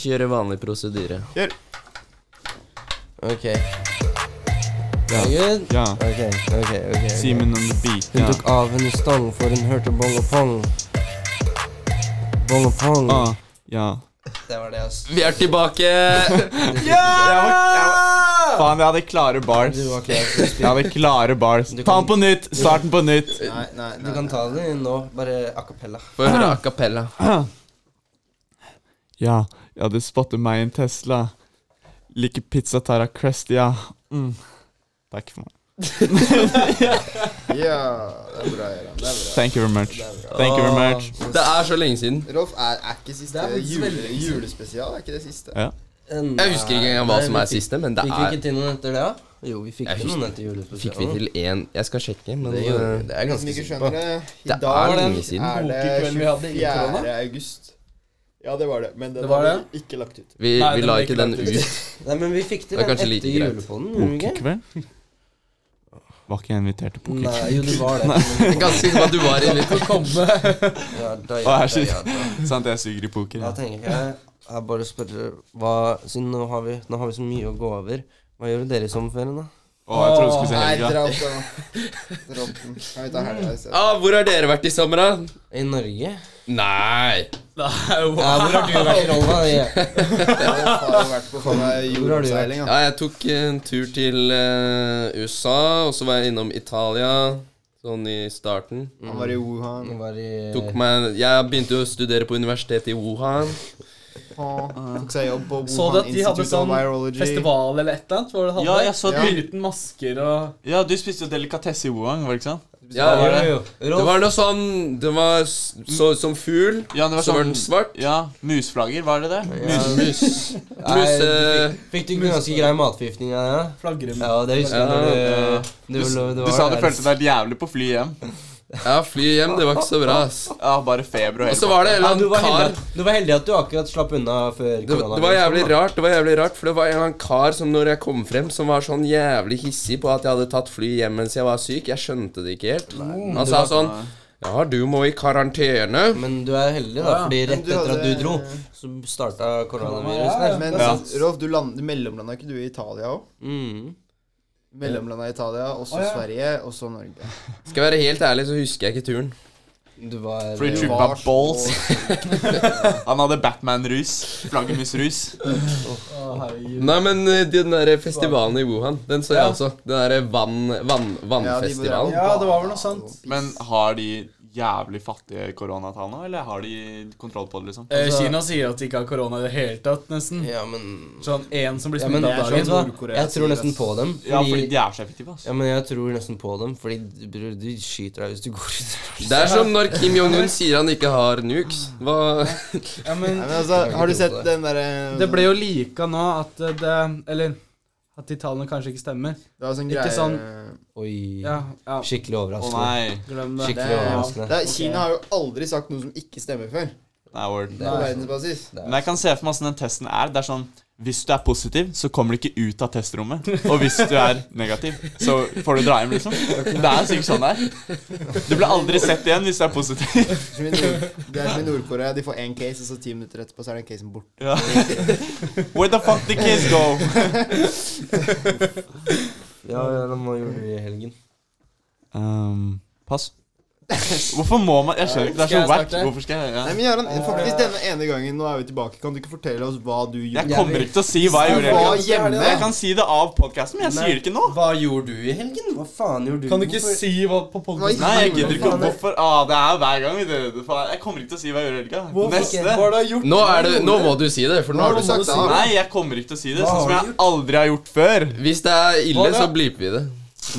Kjøre vanlig prosedyre. Kjør. Ok, Ja. good? ja. Ok, ok, ok. ok. Simen on the beat. Hun Ja. tok av henne stang, for hun hørte bong og pong. Bong og pong. Ah, ja. Ah. Det var det, ass. Vi er tilbake! Jeg var, jeg var, faen, jeg hadde klare bars. Du var ikke helt Jeg hadde klare bars. Du Ta kan- den på nytt! Start den på nytt. Nei, nei, Du nei. kan ta det nå, bare a cappella. Ah. Få høre a cappella. Ja, jeg hadde spottet meg i en Tesla. Liker pizza Tara Crest, ja. Mm. Takk for meg. Ja, det er bra, Göran. Det er bra. Thank you very much. Det er bra. Thank you very much. Det er så lenge siden. Rolf, er, er ikke siste Det er faktisk jule, veldig lenge siden. julespesial? Er ikke det siste? Ja. Jeg husker ikke engang hva som er siste, men det Fikk vi er ikke til noen etter det, da? Jo, vi fikk Jeg til husker- noen etter Fikk vi julespesialen. til én Jeg skal sjekke, men Det gjorde vi. eh, Det er jeg Hvis du ganske ikke sikker skjønner på. det, i Det er dag lenge siden. er Bokkekvelden vi hadde det i 24. korona. august. Ja, det var det, men den Det var har det? vi ikke lagt ut. vi, Nei, vi den la ble ikke ikke den lagt ut. Nei, men vi fikk til Det er den kanskje etter like greit. julepodden, gjorde vi ikke? Pokekveld? Var ikke jeg invitert til Nei, pokekveld? jo, det var det. Jeg er Ganske sikker på at du var invitert. Ja, da, Å, ja, jeg er da, så- ja, da. Sant, jeg suger i poker. Da ja. tenker jeg jeg bare spørre hva, Siden nå har, vi, nå har vi så mye å gå over. Hva gjør dere i sommerferien, da? Å, jeg trodde du skulle se Nei, helga. dra opp da. Dra opp den. Kan vi ta helga i stedet? Ah, hvor har dere vært i sommer, da? I Norge? Nei! Ja, hvor har du vært i Rolva? Ja. Rolf har jo vært på faen meg Hvor har du vært? jordomseiling, da. Ja, jeg tok en tur til eh, USA, og så var jeg innom Italia sånn i starten. Han var i Wuhan. Jeg var i Tok meg, jeg begynte jo å studere på universitetet i Wuhan. Tok seg jobb på Så du Wuhan at de hadde Institute of sånn Virology. festival eller et eller annet? Hvor de hadde Ja, jeg så Ja. det. Uten masker og Ja, du spiste jo delikatesse i Wuhan, var det ikke sant? Ja, Jo, jo, jo. det Rolf, var noe sånn Det var s- så ut som fugl, Ja, det var så var den sånn svart. Ja, musflagger, var det det? Ja. Mus. Nei, Mus eh, fikk du ikke ganske grei matforgiftning av det? flagre med Ja, det husker jeg. Ja. når Du, du, du, Du var sa du der. følte deg jævlig på fly hjem. eh, Ja, fly hjem, det var ikke så bra, ass. Ja, bare feber og Og så hele var det en ja, du, eller var heldig annen at, kar du var heldig at du akkurat slapp unna før det, det var jævlig sånn, rart, det var jævlig rart, for det var en eller annen kar som når jeg kom frem, som var sånn jævlig hissig på at jeg hadde tatt fly hjem mens jeg var syk. Jeg skjønte det ikke helt. Han sa sånn Ja, du må i karantene. Men du er heldig, da, fordi Men rett du etter at du hadde- dro, så starta koronaviruset. der. Men Ja. Rolf, du, land, du mellomlanda ikke du i Italia òg? Mm. Mellomlanda i Italia, og så Å, ja. Sverige, og så Norge. Skal jeg være helt ærlig, så husker jeg ikke turen. Du var Free Det trip var up balls. så- Han hadde Batman-rus. Flaggermusrus. Å, herregud. Nei, men eh, den der festivalen i Wuhan, den så jeg Ja. også. Den derre vann, vann, Ja, de var- vannfestivalen. Ja, det var vel noe sånt. Men har de jævlig fattige koronatall nå, eller har de kontroll på det, liksom? Eh, Kina sier at de ikke har korona i det hele tatt, nesten. Ja, men, Sånn én som blir ja, men sånn smittet vet av du hva? dagen. Jeg tror nesten på dem. Ja, fordi Fordi, de er så effektive, ass. ja, men jeg tror nesten på dem, fordi du, bror, du skyter deg hvis du går ut. Det er som når Kim Jong-un sier han ikke har nukes. Hva Ja, men Nei, men altså, Har du tro på det. sett den eh, derre det ble jo lika nå at det Eller at de tallene kanskje ikke stemmer. Det var sånn ikke greie Oi. Ja, ja, Skikkelig Å altså, overraskende. nei. glem det, det. Skikkelig det, overraskende. er- Kina har jo aldri sagt noe som ikke stemmer før. Nei, word. På verdensbasis. Men jeg kan se for meg hvordan den testen er. Det er sånn hvis du er positiv, så kommer du ikke ut av testrommet. Og hvis du er negativ, så får du dra hjem, liksom. Det er sikkert sånn det er. Du blir aldri sett igjen hvis du er positiv. Som i Nord- Det er som i Nord-Korea. De får én case, og så ti minutter etterpå så er den casen borte. Ja. Where the fuck the kids go? Ja, ja, men hva gjorde du i helgen? Um, pass. Hvorfor må man Jeg skjønner ikke. Det Skal er så jeg wack. starte? Hvorfor skal jeg Nei, ja. men Gøran, faktisk denne ene gangen nå er vi tilbake. Kan du ikke fortelle oss hva du Jeg gjorde? kommer ikke til å si hva jeg gjorde. i var helgen. Jeg hjemme. kan si det av podkasten, men jeg sier det ikke nå. Hva gjorde du i helgen? Hva faen gjorde du? Kan du ikke Hvorfor- si hva på Hva podkasten Nei, jeg gidder ikke. Faen, det- Hvorfor? Ah, det er hver gang. vi gjør det. Faen, Jeg kommer ikke til å si hva jeg gjorde i helga. Neste. Hva har du gjort? Nå, er det, nå må du si det, for nå har du sagt det. av. Nei, jeg kommer ikke til å si det. Hva Sånn som har jeg aldri har gjort før. Hvis det er ille, Hva da? så bleeper vi det.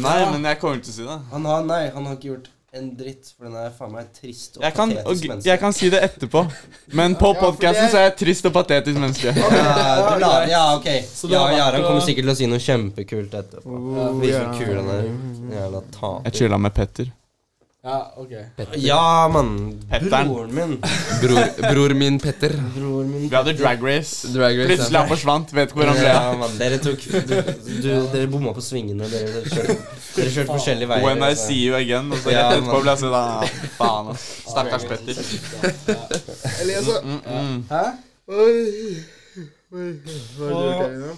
Nei, men jeg kommer ikke til å si det. Han har, nei, han har ikke gjort en dritt, for den er faen meg et trist og Jeg kan, og, patetisk menneske. jeg kan si det etterpå. Men på Ja, for podkasten det- så er jeg et trist og patetisk menneske. Ja, du la- ja, ok. du Ja, har vært Jaran og- kommer sikkert til å si noe kjempekult etterpå. Oh, Vise ja. hvor kul han er. Jævla Jeg taper. chilla med Petter. Ja, ok. Ja, mann. Petteren. Broren min. Bror, bror min Petter. Broren min. Vi hadde drag race. Drag race. Plutselig ja. han forsvant. Vet ikke hvor han ble Ja, av. mann. Dere tok du, du, Dere bomma på svingene. Dere dere kjørte, dere kjørte forskjellige veier. altså. When I så- see you again. Og så Ja, rett etterpå men- ble jeg sånn ah, Faen, ass. Stakkars Petter. Elias, da. Mm, mm. Hæ? altså, Oi. Hva har du gjort her inne?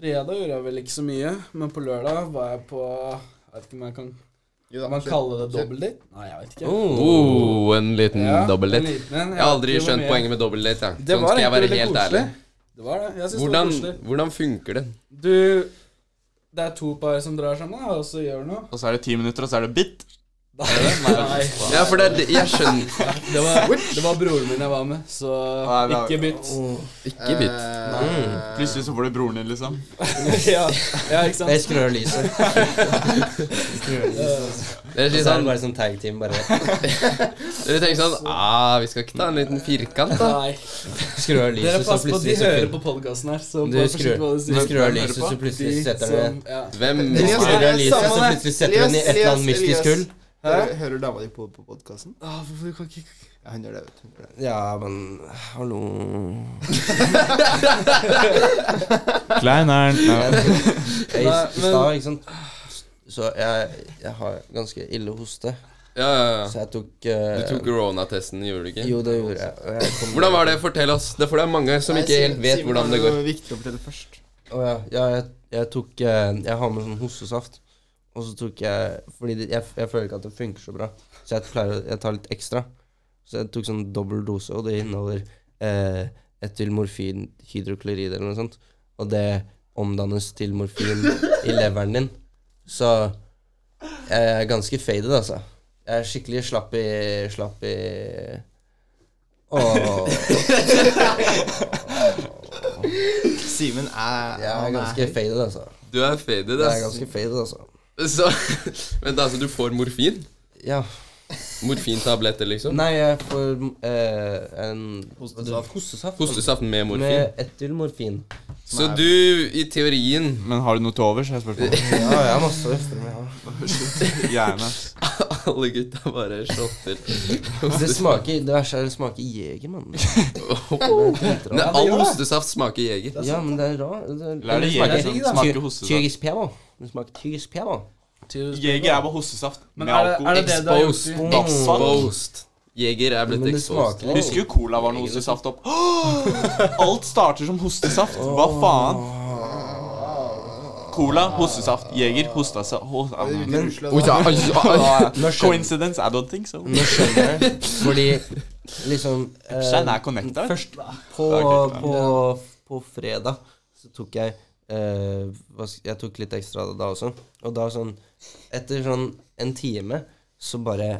Fredag gjorde jeg vel ikke så mye, men på lørdag var jeg på Jeg vet ikke om jeg kan Jo da, Kan man kjør. kalle det Kjør. dobbeltdate? Nei, jeg vet ikke. Oh, en liten Ja, en dobbeldate. liten en. Jeg har aldri vet ikke hvor skjønt mye- poenget med dobbeldate. jeg. Det Sånn var skal jeg egentlig være veldig helt koselig. ærlig. Det var det. Jeg synes Hvordan, det var koselig. hvordan funker det? Du Det er to par som drar sammen, da, og så gjør noe. Og så er det ti minutter, og så er det bit. Nei. Ja, for det er det Jeg skjønner Det var, det var broren min jeg var med, så Nei, det er- ikke bytt. ikke bit. Eh, Plutselig så får du broren din, liksom. ja. ja, ikke Jeg sant? Øh, skrur av lyset. Jeg skrur av lyset. Eh, Det er Og litt så er sånn det bare sånn tag team. Bare Dere tenker sånn ah, Vi skal ikke ta en liten firkant, da. Nei. skrur av Dere lyset, så pass på, de plutselig så hører fin- på podkasten her, så Du bare forsiktig skrur, hva du du sier. skrur av Hvem hører lyset, på? så plutselig De setter du som ja. Hvem Du Elias, skrur av lyset, så samme det. plutselig setter du den i et eller annet Elias, mystisk Elias. hull. Hører, hører dama di på, på podkasten? Ah, hvorfor kan ikke Ja, hun gjør det, vet du. Hun gjør det. Ja, men hallo Kleineren. Jeg, I Nei, i men- stad, ikke sant Så jeg, jeg har ganske ille hoste, Ja, ja, ja. så jeg tok Du eh, tok coronatesten, gjorde du ikke? Jo, det gjorde jeg. og jeg kom- Hvordan var det? Fortell oss. Det er for det er mange som Nei, ikke Simen- helt vet Simen hvordan har det går. noe viktig å fortelle først. Å ja. ja jeg, jeg tok eh, Jeg har med sånn hostesaft. Og så tok jeg Fordi det, jeg, jeg føler ikke at det funker så bra, så jeg, pleier, å- jeg tar litt ekstra. Så jeg tok sånn dobbel dose, og det inneholder eh, etylmorfin hydroklorid eller noe sånt. Og det omdannes til morfin i leveren din. Så jeg er ganske faded, altså. Jeg er skikkelig slapp i Slapp i Åh, Simen er jeg er han ganske faded, altså. Du er faded, Jeg er ass. ganske faded, altså. Så Vent, altså, du får morfin? Ja. Morfintabletter, liksom? Nei, jeg får eh, en Hostesaft. Hostesaft. Hostesaft med morfin? Med etylmorfin. Så du, i teorien Men har du noe til overs? er spørsmålet. Ja, jeg har masse øfter med. Ja. Gjerne. Alle gutta bare shotter. Det smaker, det verste er det smaker jeger, mann. Nei, all hostesaft smaker jeger. Ja, men det er rart. Det, er- Eller jeger som smaker hostesaft. Tyrkisk pjeva. Det smaker tyrkisk pjeva. Jeger er bare hostesaft Men med er det, er alkohol. det det du har gjort? Exposed. i- Exposed. Jeger er blitt Men det exposed. smaker Husker jo cola var noe hostesaft opp. Alt starter som hostesaft. Hva faen? Cola, hostesaft, jeger, hostesaft er ho- ute i Russland. da. Nå skjønner, Coincidence? I don't think so. nå skjønner jeg. Fordi liksom eh, Skjønner jeg connecta? Først på, Ok, på, på fredag så tok jeg eh, hva sk- Jeg tok litt ekstra da også. Og da sånn Etter sånn en time så bare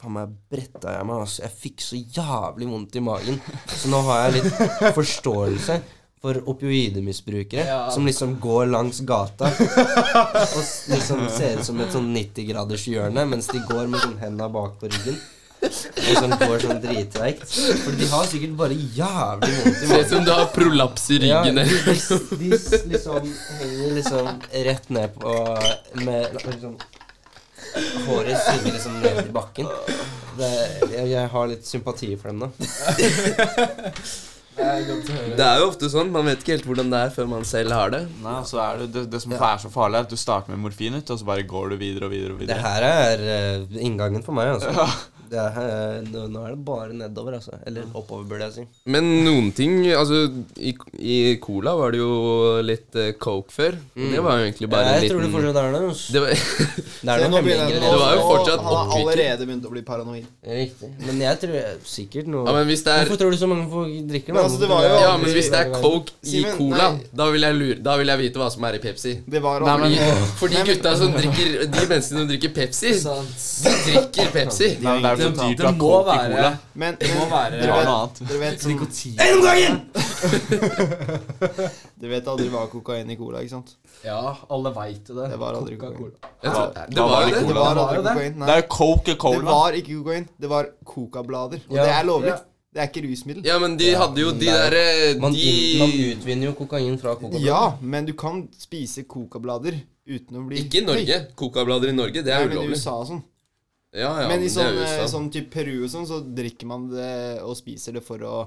Faen meg bretta jeg meg, altså. Jeg fikk så jævlig vondt i magen. Så nå har jeg litt forståelse for opioidemisbrukere Ja. som liksom går langs gata og s- liksom ser ut som et sånn 90-gradershjørne mens de går med sånn henda bak på ryggen. Og sånn går sånn dritveikt. For de har sikkert bare jævlig vondt i Ser ut magen. som du har prolaps i Ja, ryggen. de, eller? de, de liksom henger liksom rett ned på med liksom Håret synger liksom ned i bakken. Det, jeg, jeg har litt sympati for dem, da. Det er godt å høre. Det er jo ofte sånn. Man vet ikke helt hvordan det er før man selv har det. Nei, altså er det, det, det som er så farlig, er at du starter med morfin, ut, og så bare går du videre og videre. og Det videre. her er eh, inngangen for meg, altså. Det her, nå, nå er det bare nedover, altså. Eller oppover, burde jeg si. Men noen ting Altså, i, i cola var det jo litt eh, coke før. Og det var jo egentlig bare Mm. jeg en tror det liten fortsatt er det. altså. det var, Det er Se, noe nå begynner hemmelig jeg- Det var jo nå- fortsatt Han har oppbygging. allerede begynt å bli paranoid. Riktig. Men jeg tror jeg, sikkert noe ja, men hvis det er Hvorfor tror du så mange folk drikker Men altså, det var jo- Ja, men hvis det er coke i Simen, cola, nei. da vil jeg, lure, da vil jeg vite hva som er i Pepsi. Det var Nei, men, aldri for de gutta som drikker De menneskene som drikker Pepsi, Sant. de drikker Pepsi. Nei, men det er jo sånn Det, så dyrt å det ha må coke i være cola. Men, men Det må være Det dere, var vet, noe annet. dere, vet som, nikotin. dere vet aldri hva kokain i cola, ikke sant? Ja, alle veit jo det. Det var aldri Coca-Cola. Jeg tror, Hva- det hva var var jo det i det. Det Cola. var Var aldri det det? kokain. Det Nei, er jo det Coca-Cola. var ikke kokain. Det var cocablader. Og Ja. det er lovlig. Ja. Det er ikke rusmiddel. Ja, men de hadde jo men de det er- derre Man, inn- man De utvinner jo kokain fra kokain. Ja, men du kan spise cocablader uten å bli Ikke i høy. Norge. Cocablader i Norge, det Nei, er men i ulovlig. USA og sånn. Ja, ja, men i det er sånn, eh, USA. sånn typ Peru og sånn, så drikker man det og spiser det for å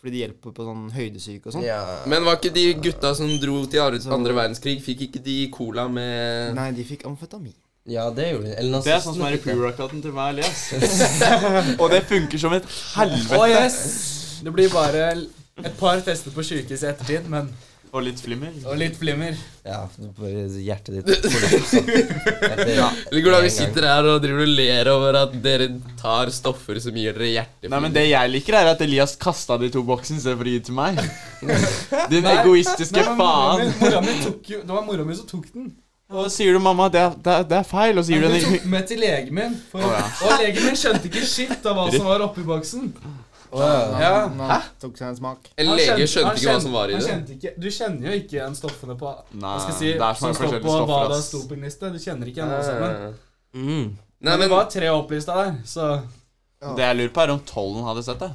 Fordi det hjelper på sånn høydesyke og sånn. Ja. Men var ikke de gutta som dro til andre, andre verdenskrig, fikk ikke de cola med Nei, de fikk amfetamin. ja, det gjorde de. Eller Det er sånn som er i pre-workouten til meg og Elias. Og det funker som et helvete. Å, yes! Det blir bare Et par tester på sjukehus i ettertid, men Og litt flimmer. Og litt flimmer. Ja, bare hjertet ditt får det sånn. Det- Eller hvordan vi en gang. sitter her og driver og ler over at dere tar stoffer som gir dere hjerteflimmer. Nei, men Det jeg liker, er at Elias kasta de to boksene istedenfor å gi til meg. Din egoistiske men mora mi- faen. mora mi tok jo Det var mora mi som tok den. Og så sier du mamma det er, det er, det er feil, og så gir du Hun en tok med til legen min, for, Å, ja. og legen min skjønte ikke shit av hva som var oppi boksen. Ja. Hæ? Tok seg en smak. En Han lege skjønte han ikke hva som var i han det. kjente ikke, du kjenner jo ikke igjen stoffene på Nei, hva skal jeg si, Ah, det er så som mange står forskjellige på hva stoffer, det ass. sto på gnistet. Du kjenner ikke igjen alle sammen. Mm. Nei, men Ah. men det var tre opplysta der, så Det jeg lurer på, er om tollen hadde sett det.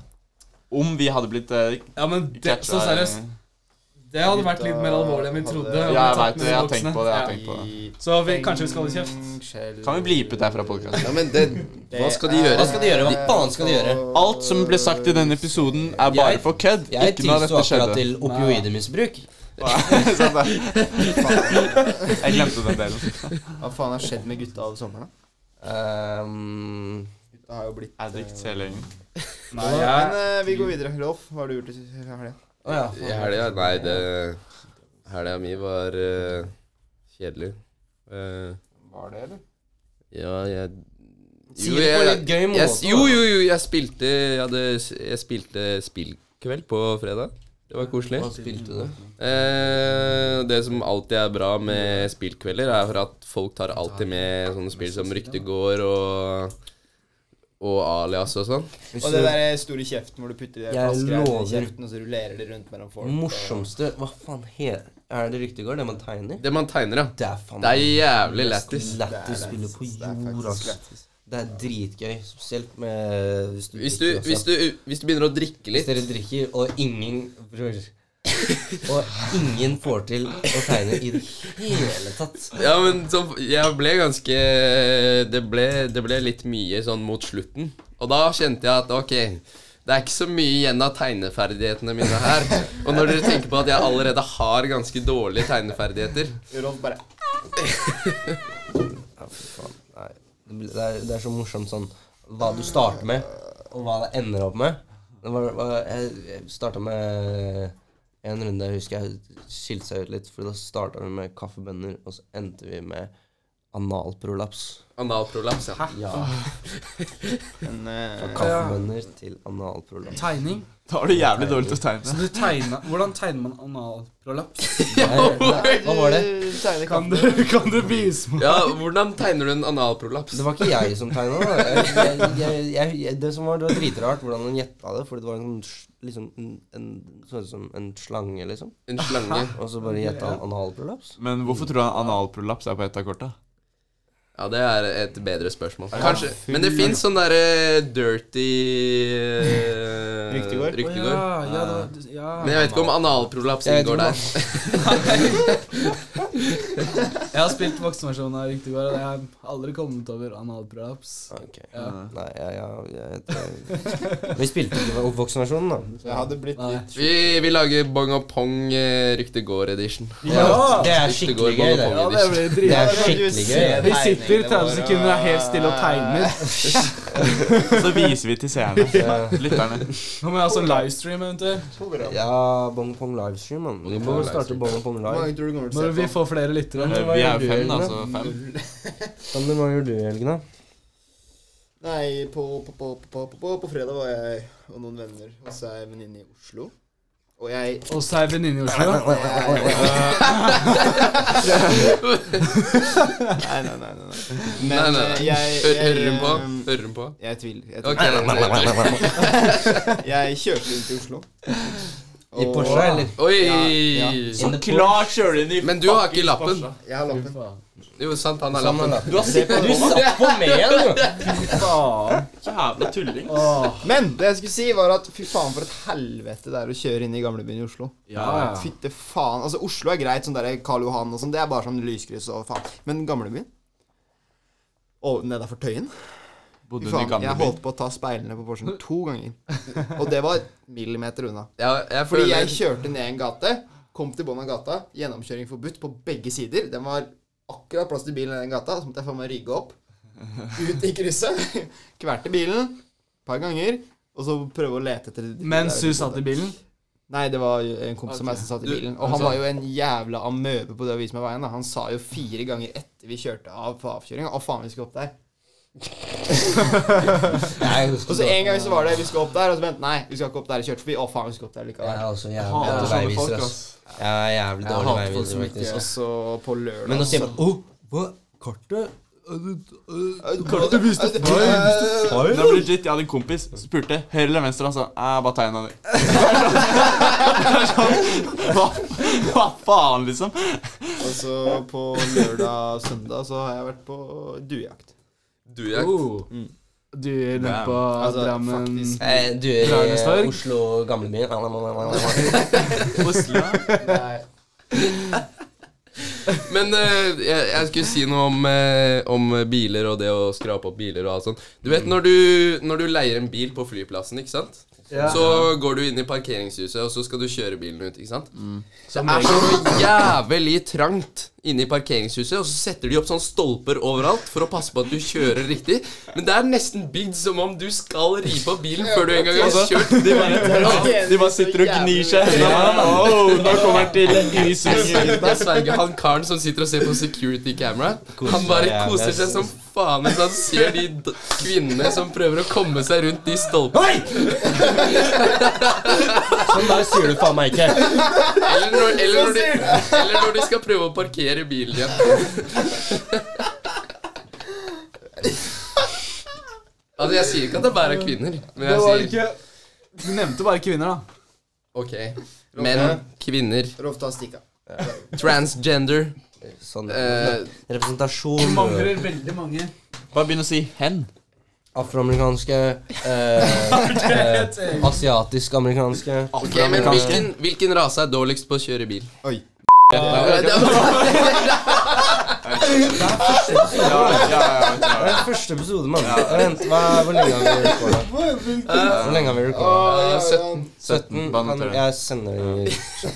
Om vi hadde blitt uh, Ja, men det, så seriøst, det hadde vært litt mer alvorlig enn vi trodde. Ja, om vi Ja, jeg tatt veit med det. Jeg har boksene. tenkt på det. jeg har Ja. tenkt på det Så vi, kanskje vi skal holde kjeft? Kan vi blipe det her fra podcasten? Ja, men det, Hva skal de gjøre? Hva skal de gjøre? Hva faen skal de gjøre? Alt som ble sagt i denne episoden, er bare Jeg- for kødd. Jeg Ikke noe av tilsto dette akkurat skjedde. til opioidemisbruk. Sånn der. Jeg glemte den delen. Hva faen har skjedd med gutta over sommeren? da? Ehm, Gutta har jo blitt eh, Jeg drikket hele gjengen. Nei, Men jeg, eh, vi går videre. Rolf, hva har du gjort i helga? Å ja. I helga Nei, det Helga mi var eh, kjedelig. Eh, Var det, eller? ja, jeg Si det på en litt gøy måte. jeg, jo, da. jo, jo, jeg spilte Jeg, hadde, jeg spilte spillkveld på fredag. Det var koselig. Hva spilte du? Eh, det som alltid er bra med spillkvelder, er for at folk tar alltid med sånne spill som Ryktegård og og alias og sånn. Og det der eh, store kjeften hvor du putter de der Jeg flaskegreiene i lover. kjeften, og så rullerer de rundt mellom folk. Morsomste Hva faen he, er det ryktegård? Det man tegner? Det man tegner, ja. Det er faen Det er jævlig lættis. Lættis spille på jord, ass. Det er dritgøy, spesielt med Hvis du, Hvis du, drikker, ass. hvis, du, hvis du begynner å drikke litt Hvis dere drikker, og ingen Bror. Og ingen får til å tegne i det hele tatt. Ja, men så, jeg ble ganske det ble, det ble litt mye sånn mot slutten. Og da kjente jeg at ok, det er ikke så mye igjen av tegneferdighetene mine her. Og når dere tenker på at jeg allerede har ganske dårlige tegneferdigheter Rolf bare Ja, fy faen. Nei. Det, blir- det, er, det er så morsomt sånn hva du starter med, og hva det ender opp med. Det var, var, jeg jeg starta med en runde jeg husker jeg skilte seg ut litt, for da starta vi med kaffebønner, og så endte vi med analprolaps. Analprolaps, ja. Ja, Men eh, kaffebønner til analprolaps. tegning? Da var det jævlig dårlig til å tegne. Så du tegna Hvordan tegner man analprolaps? Nei, Hva var det? Tegner Kan kan du, kan du vise meg? ja. Hvordan tegner du en analprolaps? Det var ikke jeg som tegna det. Jeg, jeg, jeg, jeg, jeg- det som var, det var dritrart hvordan han gjetta det. Fordi det var en sånn sl- liksom, en, en, sånn ut som en slange, liksom. En slange. Og så bare gjetta han analprolaps. Men hvorfor tror du analprolaps er på ett av korta? Ja, det er et bedre spørsmål. Kanskje. Men det fins sånn derre dirty eh, Ryktegård? Å Ryktegård. ja, ja, det var- ja. Men jeg vet ikke om analprolaps Jeg vet inngår ikke om der. Jeg har spilt voksenversjonen av Ryktegård, og jeg har aldri kommet over analprolaps. Ok. Ja. Nei, jeg, jeg, jeg, jeg, Vi spilte ikke vo- voksenversjonen, da. Jeg hadde blitt Nei. litt Vi, vi lager Bong og Pong eh, Ryktegård-edition. Ja! Det er Ryktegård, Bong skikkelig gøy, og det. Pong Ja, det edition. ble Det er dritbra. skikkelig gøy. Vi sitter 30 sekunder og er helt stille og tegner. Så viser vi til seerne. Lytterne. Nå må jeg ha sånn livestream eventuelt. Ja, Bong Pong livestream, mann. Vi må starte Bong Pong Hvor live. mange tror du kommer til Når å vi se på? får flere lyttere. Men hva Vi er gjør du jo i fem, da, helgen, så fem. Sander, hva gjør du i helgen, da? Nei, på, på, på, på, på, på, på fredag var jeg og noen venner hos ei venninne i Oslo. Og jeg Og så er venninne i Oslo. Nei, nei, nei. nei, nei. Nei, nei, Men eh, nei. jeg, Hør- Hører jeg, hun på? ehm, Hører hun på? Jeg tviler. Jeg, Ok. tviler. jeg kjørte inn til Oslo. I Porsche, eller? Oi! Ja, In the Klart kjører inn i Men du har ikke lappen. Jeg har lappen. Jo, sant, han har Sander, lappen. da. Du har sett Du satt på meg, du! Faen. jævla tulling. Åh. Men det jeg skulle si, var at fy faen, for et helvete det er å kjøre inn i gamlebyen i Oslo. Ja, ja. Fytte faen. Altså, Oslo er greit, sånn der Karl Johan og sånn. Det er bare sånn lyskryss og faen. Men gamlebyen? Og nedafor Tøyen? Fy Bodde hun i faen, jeg gamlebyen? holdt på å ta speilene på Porschen to ganger. Og det var millimeter unna. Ja, jeg Fordi føler jeg kjørte ned en gate, kom til bånn av gata, gjennomkjøring forbudt på begge sider. Den var akkurat plass til bilen i den gata, så måtte jeg faen meg rygge opp. Ut i krysset. Kverte bilen et par ganger, og så prøve å lete etter de Mens du satt i bilen? Nei, det var jo en kompis som Ok. jeg som satt i Du- bilen. han Og han sa- var jo en jævla amøbe på det å vise meg veien. Da. Han sa jo fire ganger etter vi kjørte av på avkjøringa Å, faen, vi skal opp der. Jeg Og så en gang så var det vi skal opp der, og så vent, nei, vi skal ikke opp der. Kjørte forbi. Å, faen, vi skal opp der Jeg likevel. er også Jeg jævlig hater dårlig sånne folk, veiviser, ass. ass. Jeg er jævlig Jeg dårlig hater folk veiviser, som ikke faktisk. Og så på lørdag Men å si så- Å, hva? Kartet? Kartet viste feil. Det var legit, Jeg hadde en kompis som spurte høyre eller venstre. Han sa «Eh, bare tegna di. sånn, hva, hva faen, liksom? Og så på lørdag og søndag så har jeg vært på duejakt. Du, jeg Mm. Du løp på Altså, Drammen faktisk. Eh, Du er i Dragestorg? Oslo gamlebyen. Oslo. Nei. Men eh, jeg, jeg skulle si noe om, eh, om biler og det å skrape opp biler og alt sånt. Du vet når du, når du leier en bil på flyplassen, ikke sant? Så går du inn i parkeringshuset, og så skal du kjøre bilen ut, ikke sant? Det er så jævlig trangt inne i parkeringshuset, og så setter de opp sånne stolper overalt for å passe på at du kjører riktig. Men det er nesten bygd som om du skal rive opp bilen før du engang har kjørt. De bare, de bare sitter og gnir seg i hendene. Wow, nå kommer han til grisungen. Jeg sverger, han karen som sitter og ser på security camera, han bare jævlig, koser seg ass. som faen mens han ser de d kvinnene som prøver å komme seg rundt de stolpene. Sånn der sier du faen meg ikke. Eller når, eller, når de, eller når de skal prøve å parkere bilen igjen. Altså, jeg sier ikke at det bare er kvinner, men Det var jeg sier ikke Du nevnte bare kvinner, da. OK. Menn, kvinner, Rolf tar stikka. transgender Sånn, eh, Du representasjon. mangler veldig mange. Bare begynn å si 'hen'. Afroamerikanske. Eh, eh, Asiatisk-amerikanske. Ok, men hvilken, hvilken rase er dårligst på å kjøre bil? Oi. Ja, det var- Ja, ja, ja. Det er første episode, mann. Vent, hva, hvor lenge har vi recorda? Hvor lenge har vi recorda? Ah, 17. 17? Bandet Kan, til det. jeg sender det i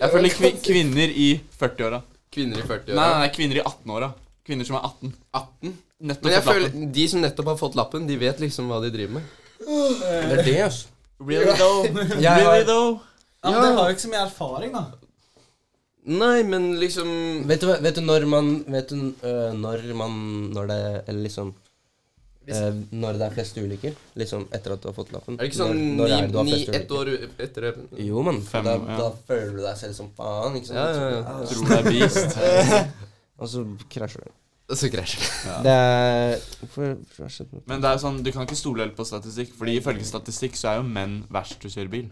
Jeg føler kvi, kvinner i 40-åra. Kvinner i 40 Nei, nei, nei, kvinner i 18-åra. Kvinner som er 18. 18. Nettopp Men jeg fått lappen. føler, de som nettopp har fått lappen, de vet liksom hva de driver med. Det er det, altså. Really though? Jeg Really har, though? Ja, men Dere har jo ikke så mye erfaring, da. Nei, men liksom vet, du, hva- vet du når man Vet du øh, når man Når det Eller liksom øh, Når det er flest ulykker? Liksom etter at du har fått lappen? Er det ikke sånn når, når er det du har ni, flest ni, ett ulykker? år etter det? Jo, mann. Fem, da, ja. da føler du deg selv som faen, ikke Ja, sant? ja, ja. Ah, Tror det er beast. Og så krasjer du. Så krasjer det. Det er Hvorfor hvorfor har det skjedd noe? Men det er jo sånn, du kan ikke stole helt på statistikk, Fordi ifølge statistikk så er jo menn verst til å kjøre bil.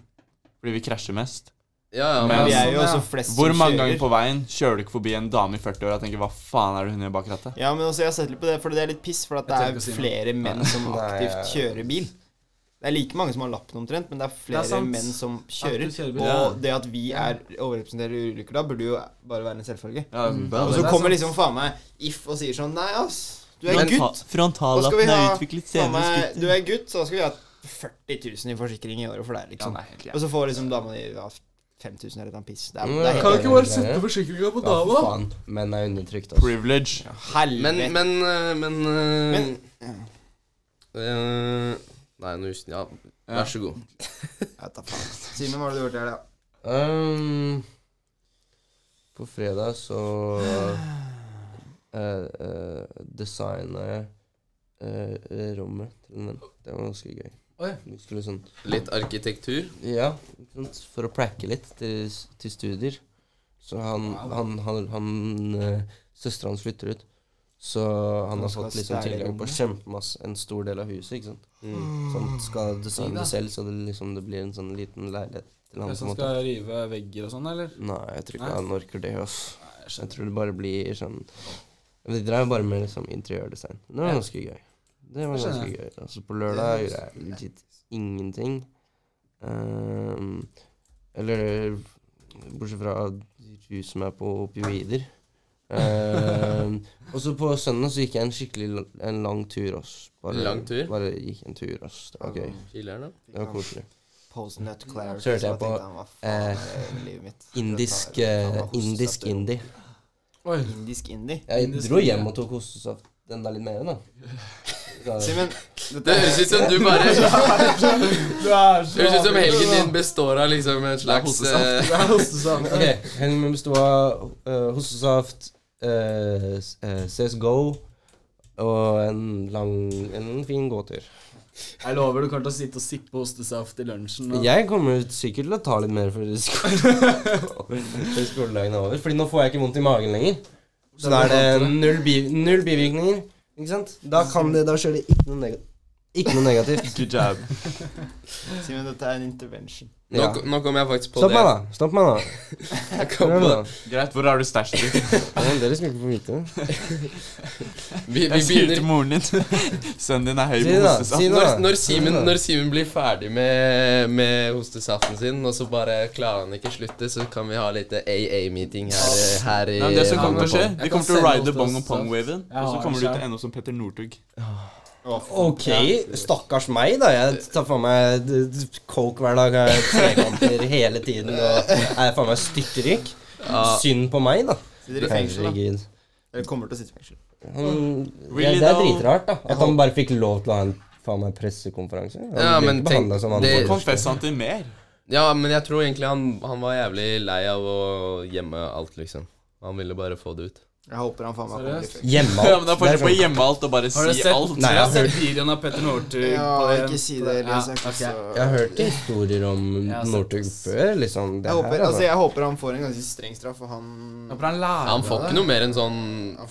Fordi vi krasjer mest. Ja, ja, Men- men altså- Vi er jo sånn, også ja. flest Hvor som mange kjører. ganger på veien kjører du ikke forbi en dame i 40-åra og tenker 'hva faen er det hun gjør bak rattet'? Ja, men også jeg har sett litt på det, for det er litt piss, for at det Jeg tør er ikke å si noe. flere menn som Nei, eh, aktivt jeg- kjører bil. Det er like mange som har lappen omtrent, men det er flere Det er sant. menn som kjører. Aktivt kjører bil. Og det at vi er overrepresentert i ulykker da, burde jo bare være en selvfølge. Ja, sånn, Og så det er kommer sant. liksom faen meg If og sier sånn Nei, ass, du er gutt. Da skal vi Frontallappen ha er utviklet senere faen hos meg, Du gutter. er gutt, så da skal vi ha 40 000 i forsikring i året for deg, liksom. Og så får liksom dama di ja, 5000 eller et eller annet piss. Det er, Mm, det er Kan helt ikke bare sette forsikringa på Ja, for faen. Menn er undertrykt, altså. Privilege. Men, Helvete. men, øh, men, øh, Men- øh, Nei, nå husker jeg ja. Vær så god. Jeg tar faen. Simen, hva har du gjort i helga? Ehm, på fredag så uh, designa jeg eh, rommet til en venn. Det var ganske gøy. Oi. Vi skulle sånn Litt arkitektur. Ja, ikke sant, for å pracke litt til, s- til studier. Så han, han, han, han eh, Søstera hans flytter ut. Så han Han har skal fått liksom stjele tilgang på rommet. kjempemasse, en stor del av huset. ikke sant? Mm, Så han skal designe det selv, så det liksom det blir en sånn liten leilighet til han. på en Som måte. skal rive vegger og sånn, eller? Nei, jeg tror ikke Nei? han orker det. Ass. Jeg tror det bare blir sånn Men De drev bare med liksom interiørdesign. Det var Ja. ganske gøy. Det var Det skjønner ganske gøy. Altså, på lørdag gjorde jeg legit ingenting. Ehm, eller bortsett fra å ruse meg på opioider. Ehm, og så på søndag så gikk jeg en skikkelig la- en lang tur. Ass. Bare, Lang tur? Bare gikk en tur. Ass. Det var gøy. Chiller'n, da. Det var koselig. Postnut Clarity. Så hørte jeg på, eh, Indisk, eh, indisk indie. Oi. Indisk indie? Jeg Indisk dro indie. hjem og tok hostesaft enda litt mer, da. Simen, Det høres ut som du bare Det Du er så høres ut som helgen din består av liksom en slags eh, Du er hostesaft. Ok, Helgen min besto av eh, hostesaft, eh, s- eh, CSGO og en lang, en fin gåtur. Jeg lover du kommer til å sitte og sippe hostesaft i lunsjen. og- Jeg kommer sikkert til å ta litt mer før sko- før skoledagen er over. Fordi nå får jeg ikke vondt i magen lenger. Så da er det null, bi null bivirkninger. Ikke sant? Da kan det, da skjer det ikke noe, neg ikke noe negativt. Good job. Simen, dette er en intervention. Nå, Ja. nå kom jeg faktisk på Stopp meg, det. da. Stopp meg, da. Jeg kom Kom på igjen, det. da. Greit, hvor har du stæsjet ditt? Ja, Dere skal ikke få vite det. Vi, vi Jeg sier til begynner moren din Sønnen din er høy Si på det, da. hostesaft. Si det, når, da. når, Simen, når Simen blir ferdig med, med hostesaften sin, og så bare klarer han ikke slutte, så kan vi ha litt AA-meeting her, eh, her i Nei, men det som her kommer til å skje, på- vi Jeg kan kommer til å sende ride hostesaft. bong og pong-waven, Jeg og så har kommer du en til å skjerm. ende opp som Petter Northug. Ok, stakkars meg, da. Jeg tar faen meg d- d- coke hver dag. Jeg har trekamper hele tiden og er faen meg styrtrik. Synd på meg, da. Sitter i fengsel, da. Herregud. Eller kommer til å sitte i fengsel. Han, Really, det, det er though? dritrart, da. At han bare fikk lov til å ha en faen meg pressekonferanse. Han Ja, ble men ikke tenk- behandlet som han det- var. Confess han til mer. Ja, men jeg tror egentlig han, han var jævlig lei av å gjemme alt, liksom. Han ville bare få det ut. Jeg håper han faen meg kommer i Seriøst? fengsel. Hjemme Ja, men da får du Det er på sånn- hjemme alt og bare Har dere si sett, alt. Nei, Nei, jeg har jeg- sett videoen av Petter Northug? på Ja, den- ikke si det, Elias. Ja, Jeg er ikke ok. så- Jeg har hørt historier om Ja, så- Northug før, liksom. Det Jeg her håper, er altså, bare- jeg håper han får en ganske streng straff, for han Jeg håper han lærer Han får det. ikke noe mer enn sånn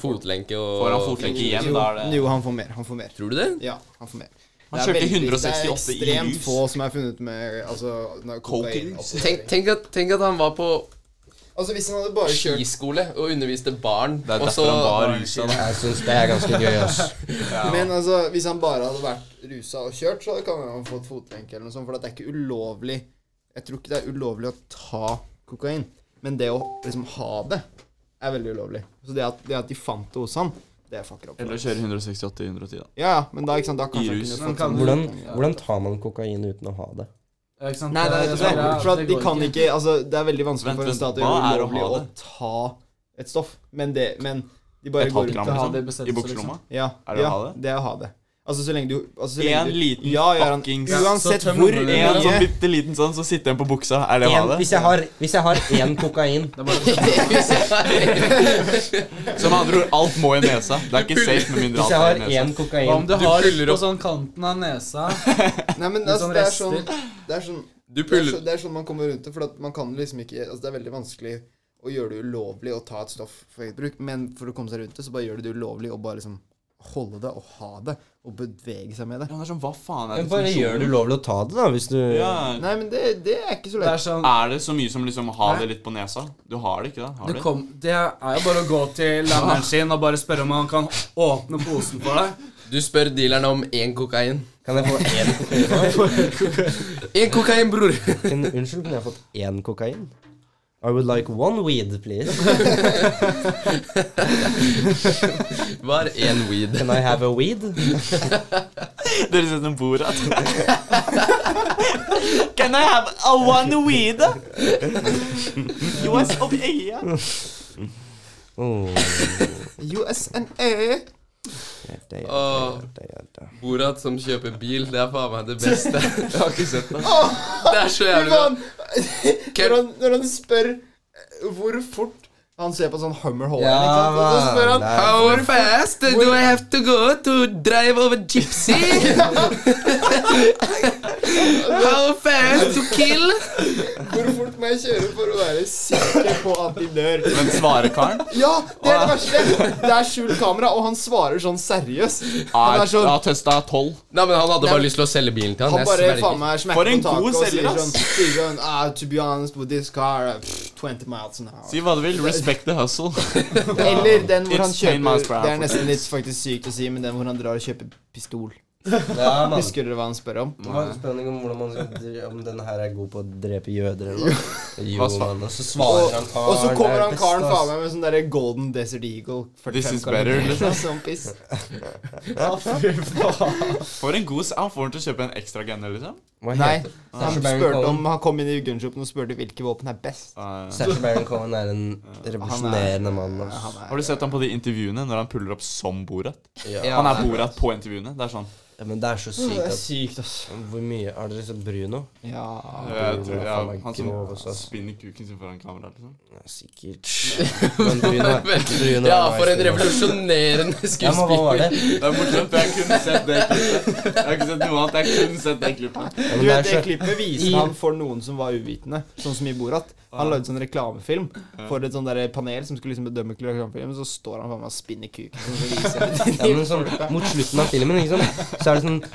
fotlenke og Får han fotlenke igjen, Jo, da er det Jo, han får mer. Han får mer. Tror du det? Ja, han får mer. Han Det er kjørte veldig- 168 Det er i ekstremt rus. få som er funnet med altså, na- kokain. Coke-rus? oppå- Tenk, tenk, at, tenk at han var på Altså, hvis han hadde bare kjørt skiskole og underviste barn, Det er og så derfor han var rusa. da. altså. Jeg syns det er ganske gøy, ass. Men altså, hvis han bare hadde vært rusa og kjørt, så kan han ha fått fotlenke eller noe sånt, for at det er ikke ulovlig Jeg tror ikke det er ulovlig å ta kokain, men det å liksom ha det, er veldig ulovlig. Så det at, det at de fant det hos han, det fucker opp. Eller å kjøre 168 i 110, da. Ja, ja, men da, ikke sant, da kanskje han rus. kunne Men fått kan sånn- du- Hvordan, hvordan tar man kokain uten å ha det? Ja, ikke sant? Nei, nei, Det- det, er det- for at det de går kan ikke Altså, det er veldig vanskelig Vent, for en vent, stat å hva gjøre er å ulovlig ha å det? ta et stoff, men, det, men de Et bare går halvt rundt gram, Ikke ha det i liksom. I besettelse, bukselomma. Ja. Er det å ja, ha det? Det er å ha det. Altså, så lenge du altså, så lenge En du, liten ja, Göran, fuckings- Uansett Så tømmer hvor du altså. den. En sånn mye bitte liten sånn, så sitter en på buksa. Er det å En- ha det? hvis, jeg har, hvis jeg har én kokain Så med andre ord, alt må i nesa. Det er ikke safe med mindre Hvis jeg har alt er i nesa. én Hva om kokain du har fyller litt på opp. sånn kanten av nesa? Nei, men Litt altså, sånn det er sånn rester. Det er sånn Du det er, puller så, det er sånn man kommer rundt det, for at man kan liksom ikke Altså, det er veldig vanskelig å gjøre det ulovlig å ta et stoff for eget bruk, men for å komme seg rundt det, så bare gjør du det ulovlig å bare liksom holde det og ha det, og bevege seg med det. Ja, men det er sånn, hva faen er Men Bare definisjonen? gjør det ulovlig å ta det, da, hvis du Ja. Nei, men det, det er ikke så Det er lett. sånn Er det så mye som liksom å ha det litt på nesa? Du har det ikke, da? Har det, du? kom, det er jo bare å gå til læreren sin og bare spørre om han kan åpne posen for deg. Du spør dealeren om én kokain. Kan jeg få én kokain? Én kokain, bror! En, unnskyld, kunne jeg fått én kokain? I would like one weed, please. Var én weed. Can I have a weed? Dere ser som Borat. Can I have a one weed? US of Øya. Oh, USNA! det gjør Åh. det, det gjør det. Borat som kjøper bil, det er faen meg det beste. Jeg har ikke sett det. Det er så Fy jævlig bra. faen! Når han, når han spør eh, hvor fort Han ser på sånn Hummer Holland, Ja, ikke sant? Og så spør man, han det er- How fast do I have to go to drive over gypsy? How fast to kill? hvor fort må jeg kjøre for å være sikker på at de dør. Men svarer karen? Ja, det er det verste! Det er skjult kamera, og han svarer sånn seriøst. Han Er, er sånn har testa tolv. Nei, men Han hadde Nei, men- bare lyst til å selge bilen til han. han bare jeg sverger. faen meg For smekker en på taket god og selger, sier ass. sånn sier sånn, ah, To be honest with this car, eh, pff, 20 miles an hour. Si hva du vil. Respect the hustle. Eller den hvor han It's 10 miles per hour kjøper Det er for nesten litt faktisk sykt å si, men den hvor han drar og kjøper pistol. Ja, man. Husker dere hva han spør om? Det var en spenning om hvordan man skal dre- om den her er god på å drepe jøder eller noe. Jo, Hva sa- mann, og så Og, svarer han karen. og så kommer det er han best, karen ass. faen meg med sånn derre Golden Desert Eagle. 45 This is karakter, better, liksom. Sånn piss. Ja, fy faen. For en god s- Han får den til å kjøpe en ekstra genner, liksom. Hva Nei, heter- han Sacha Baron spurte om Cohen. Han kom inn i gunshopene og spurte hvilke våpen er best. Eh, Sacha Baron Cohen er en revolusjonerende mann. ass. Han er- har du sett ham på de intervjuene når han puller opp som Borat? Ja. Han er Borat på intervjuene. Det er sånn Ja, men det er så Det sykt er at sykt, altså. Hvor mye Er dere sett Bruno? Ja. jeg eh, tror, ja, faen meg Han som grov, altså. ass. spinner kuken sin foran kamera. liksom Nei, Sikkert. Men Bruno, er- Bruno er Ja, nice, for en Bruno. revolusjonerende Ja, men hva skuespiller. var det? Det er morsomt. for Jeg har kun sett det klippet. Jeg har ikke sett noe annet. Jeg har kun sett det klippet. Ja, men det er Du vet, Det så- klippet viste han for noen som var uvitende, sånn som i Borat. Han lagde sånn reklamefilm for et sånn der panel som skulle liksom bedømme reklamefilmen, så står han faen meg og spinner kuken. og så viser han det til Ja, men de sånn, folka. mot slutten av filmen, ikke sant, så er det sånn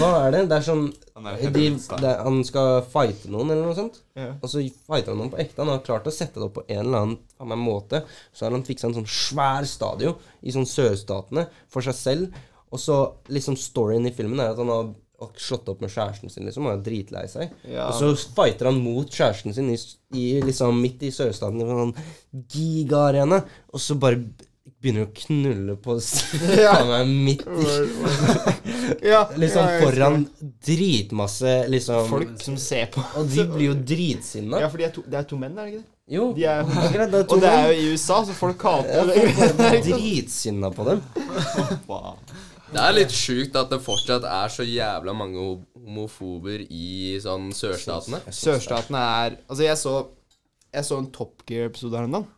Hva er det? Det er sånn Han er de, helt det, Han skal fighte noen, eller noe sånt. Ja. Og så fighter han noen på ekte. Han har klart å sette det opp på en eller annen faen meg måte. Så har han fiksa en sånn svær stadion i sånn sørstatene for seg selv. Og så liksom storyen i filmen er at han har slått opp med kjæresten sin, liksom. Han er dritlei seg. Ja. Og så fighter han mot kjæresten sin i, i, liksom midt i sørstaten i en sånn gigaarena, og så bare begynner å knulle på Ja. faen meg midt i Ja, Liksom ja, jeg husker foran det. dritmasse liksom folk som ser på. Og de blir jo dritsinna. Ja, for de er to, det er to menn, er det ikke det? Jo, De er, akkurat. Det er to og det er menn. jo i USA, så folk hater det. Folk er dritsinna på dem. Wow. Det er litt sjukt at det fortsatt er så jævla mange ho- homofober i sånn sørstatene. Sørstatene er Altså, jeg så, jeg så en Top Gear-episode her en dag.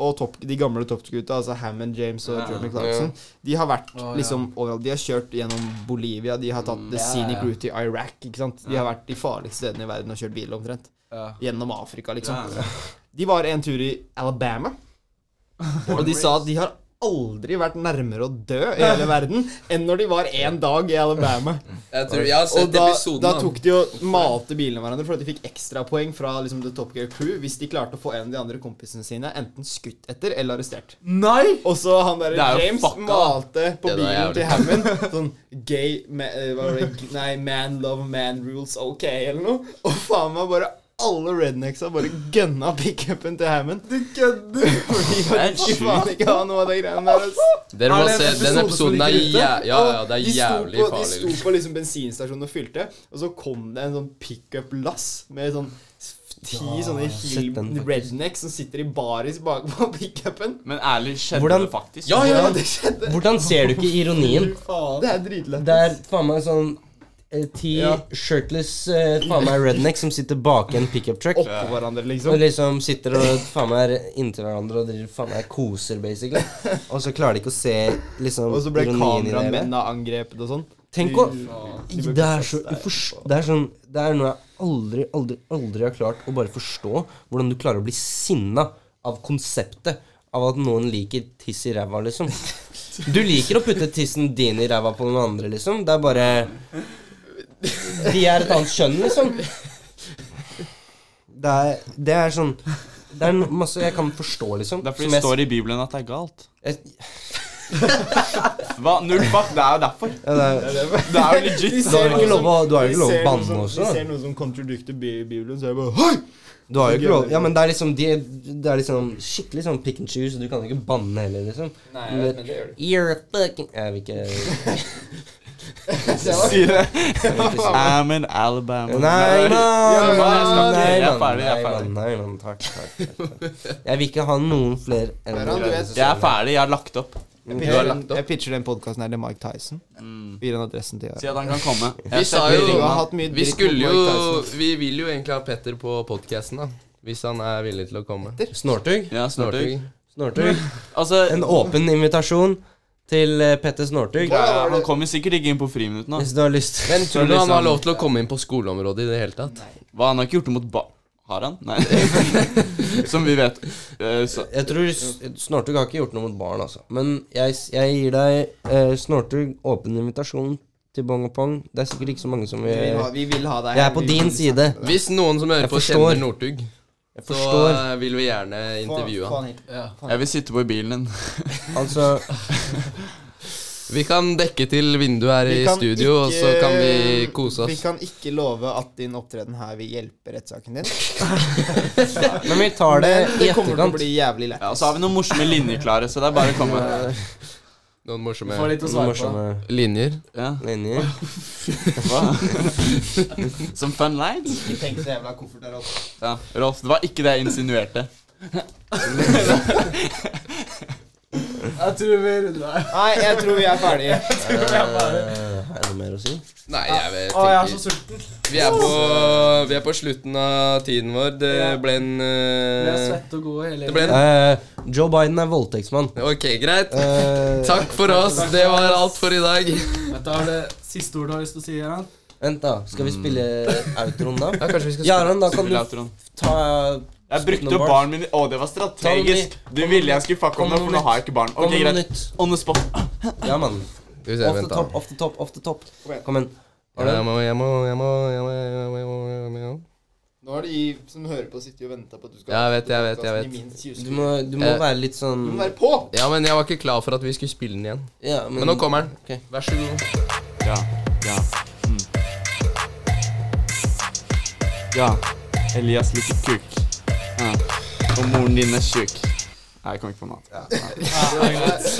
Og top, de gamle Top Gear-gutta, altså Hammond James og Jeremy Clarkson, de har vært Å, ja. Mm, liksom overalt. De har kjørt gjennom Bolivia, de har tatt the ja, scenic ja. route i Iraq, ikke sant. De har vært de farligste stedene i verden og kjørt bil omtrent. Ja. Gjennom Afrika, liksom. Ja, ja. De var en tur i Alabama, og de sa at de har aldri vært nærmere å dø i hele verden enn når de var én dag i Alabama. Jeg, tror, jeg har Og sett da, episoden. da av- tok de og malte bilene hverandre for at de fikk ekstrapoeng fra liksom, The Top Gear Crew hvis de klarte å få en av de andre kompisene sine enten skutt etter eller arrestert. Nei! Og så han der Det er jo James fucka. malte på Det der er bilen jævlig. til Hammond sånn gay ma eh, hva var det? Nei, man love man rules ok, eller noe. Og faen meg bare alle rednecksa bare gønna pickupen til Hammond. Du kødder! Fordi Det er han sjukt. faen ikke ha noe av de greiene der. ass. Dere Er må det en se den episode som episoden. Er ligger ute? jæ ja, ja, det er de sto jævlig på, farlig. De sto på liksom bensinstasjonen og fylte, og så kom det en sånn pickup-lass med sånn s- ti sånne sett den hill rednecks som sitter i baris bakpå pickupen. Men ærlig, skjedde Hvordan- det faktisk? Ja, ja, det skjedde. Hvordan ser du ikke ironien? Det er dritlættis. Det er faen meg sånn eh, ti Ja. shirtless eh, faen meg rednecks som sitter bak en pickup truck. Oppå hverandre, Og liksom. liksom sitter og faen meg er inntil hverandre og driver faen meg koser, basically. Og så klarer de ikke å se liksom Og så ble ironien i det hele. kameramennene angrepet og sånn. Tenk å Det er så uforst... Det er sånn Det er noe jeg aldri, aldri, aldri har klart å bare forstå. Hvordan du klarer å bli sinna av konseptet av at noen liker tiss i ræva, liksom. Du liker å putte tissen din i ræva på noen andre, liksom. Det er bare De er et annet kjønn, liksom. Det er, det er sånn Det er no- masse jeg kan forstå, liksom. Det er fordi som det jeg- står i Bibelen at det er galt. jeg- Hva? Null fuck, det er jo derfor. ja, det er- Det er jo legit. Du har jo ikke lov å- du har jo ikke lov å banne også, da. De ser noe som contradicter Bi- Bibelen, så er jeg bare Hei! Du har jo ikke lov Gøy. Ja, men det er liksom de, Det er liksom skikkelig sånn pick and choose, og du kan ikke banne heller, liksom. Nei, jeg vet, men det gjør du. You're a fucking Jeg vil ikke Sier det. jeg vil ikke si det. I'm in Alabama. Nei, mann! men jeg skal ikke. Nei, Jeg er mann, ferdig, jeg er nei, ferdig. mann, Nei, mann. Takk, takk, takk. takk. Jeg vil ikke ha noen flere Ferran, du vet- Jeg er ferdig. Jeg har lagt opp. Jeg har pitcher, lagt opp. Mm. jeg pitcher den podkasten her til Mike Tyson. Vi gir han adressen til Si at han kan komme. Vi Jeg sa setter jo ringen. har hatt Vi mye dritt skulle mot Mike jo Tyson. Vi vil jo egentlig ha Petter på podkasten, da. Hvis han er villig til å komme. Snortug? Ja, Snortug. Snortug. Snortug. Altså, En åpen invitasjon til eh, Petter Snortug. ja, han kommer sikkert ikke inn på friminuttene. Hvis du har lyst. Men Så tror du han liksom- har lov til å komme inn på skoleområdet i det hele tatt? Hva, han har ikke gjort det mot ba... Har han? Nei. Som vi vet. Eh, så- Jeg tror s- Snortug har ikke gjort noe mot barn, altså. Men jeg, s- jeg gir deg eh, Snortug åpen invitasjon til bong og pong. Det er sikkert ikke så mange som vil Vi vil ha, vi vil ha deg. Jeg er på Vi vil din snakke side. med deg. Hvis noen som hører Jeg på, forstår. kjenner Northug, Jeg så forstår. eh, vil vi gjerne intervjue han. hit. Jeg vil sitte på i bilen din. Altså Vi kan dekke til vinduet her i studio, og så kan vi kose Vi oss. kan ikke love at din opptreden her vil hjelpe rettssaken din. Men vi tar det Men i det kommer til å etterkant. bli jævlig lett. Ja, og så har vi noen morsomme linjer klare, så det er bare å komme. Noen morsomme Får litt å svare på. Morsomme linjer. Ja, linjer. hva? Som fun lines? Ikke tenk så jævla koffert der oppe. Ja, Rolf, det var ikke det jeg insinuerte. Jeg tror vi runder her. Nei, jeg tror vi er ferdige. Eh, Har jeg noe mer å si? Nei, jeg vet Å, jeg er så ikke. sulten. Vi er på, vi er på slutten av tiden vår. Det Ja. ble en Vi er eh, svette og gode hele Det ble en Eh, Joe Biden er voldtektsmann. Ok, greit. Eh, Takk for oss. Det var alt for i dag. Vet du, er det siste ordet du har lyst til å si, Jarand? vent, da. Skal vi spille outroen, da? Ja, kanskje vi skal Jarand, da kan du Vil jeg tro. ta Jeg brukte noen opp bars. barn min Å, det var strategisk. Ta Du ville jeg skulle fucke kom om det, noe for nå nytt. har jeg ikke barn. Kom Ok, med noe greit. nytt. On the spot. Ja, mann. Skal vi se, Off the vent, da. top, off the top, off the top. Kom igjen. Kom igjen. Har Ja, du Jeg må, jeg må, jeg må, jeg må, jeg må, jeg må, jeg må. Nå er det de som hører på, sitter og venter på at du skal Ja, jeg vet, jeg vet, jeg vet. Du må, du må Eh, være litt sånn Du må være på! Ja, men jeg var ikke klar for at vi skulle spille den igjen. ja, men, Men nå kommer den. Ok. Vær så god. Ja. Ja. Mm. Ja. Elias liker kuk. Ja. Og moren din er tjukk. Nei, jeg kom ikke på noe annet.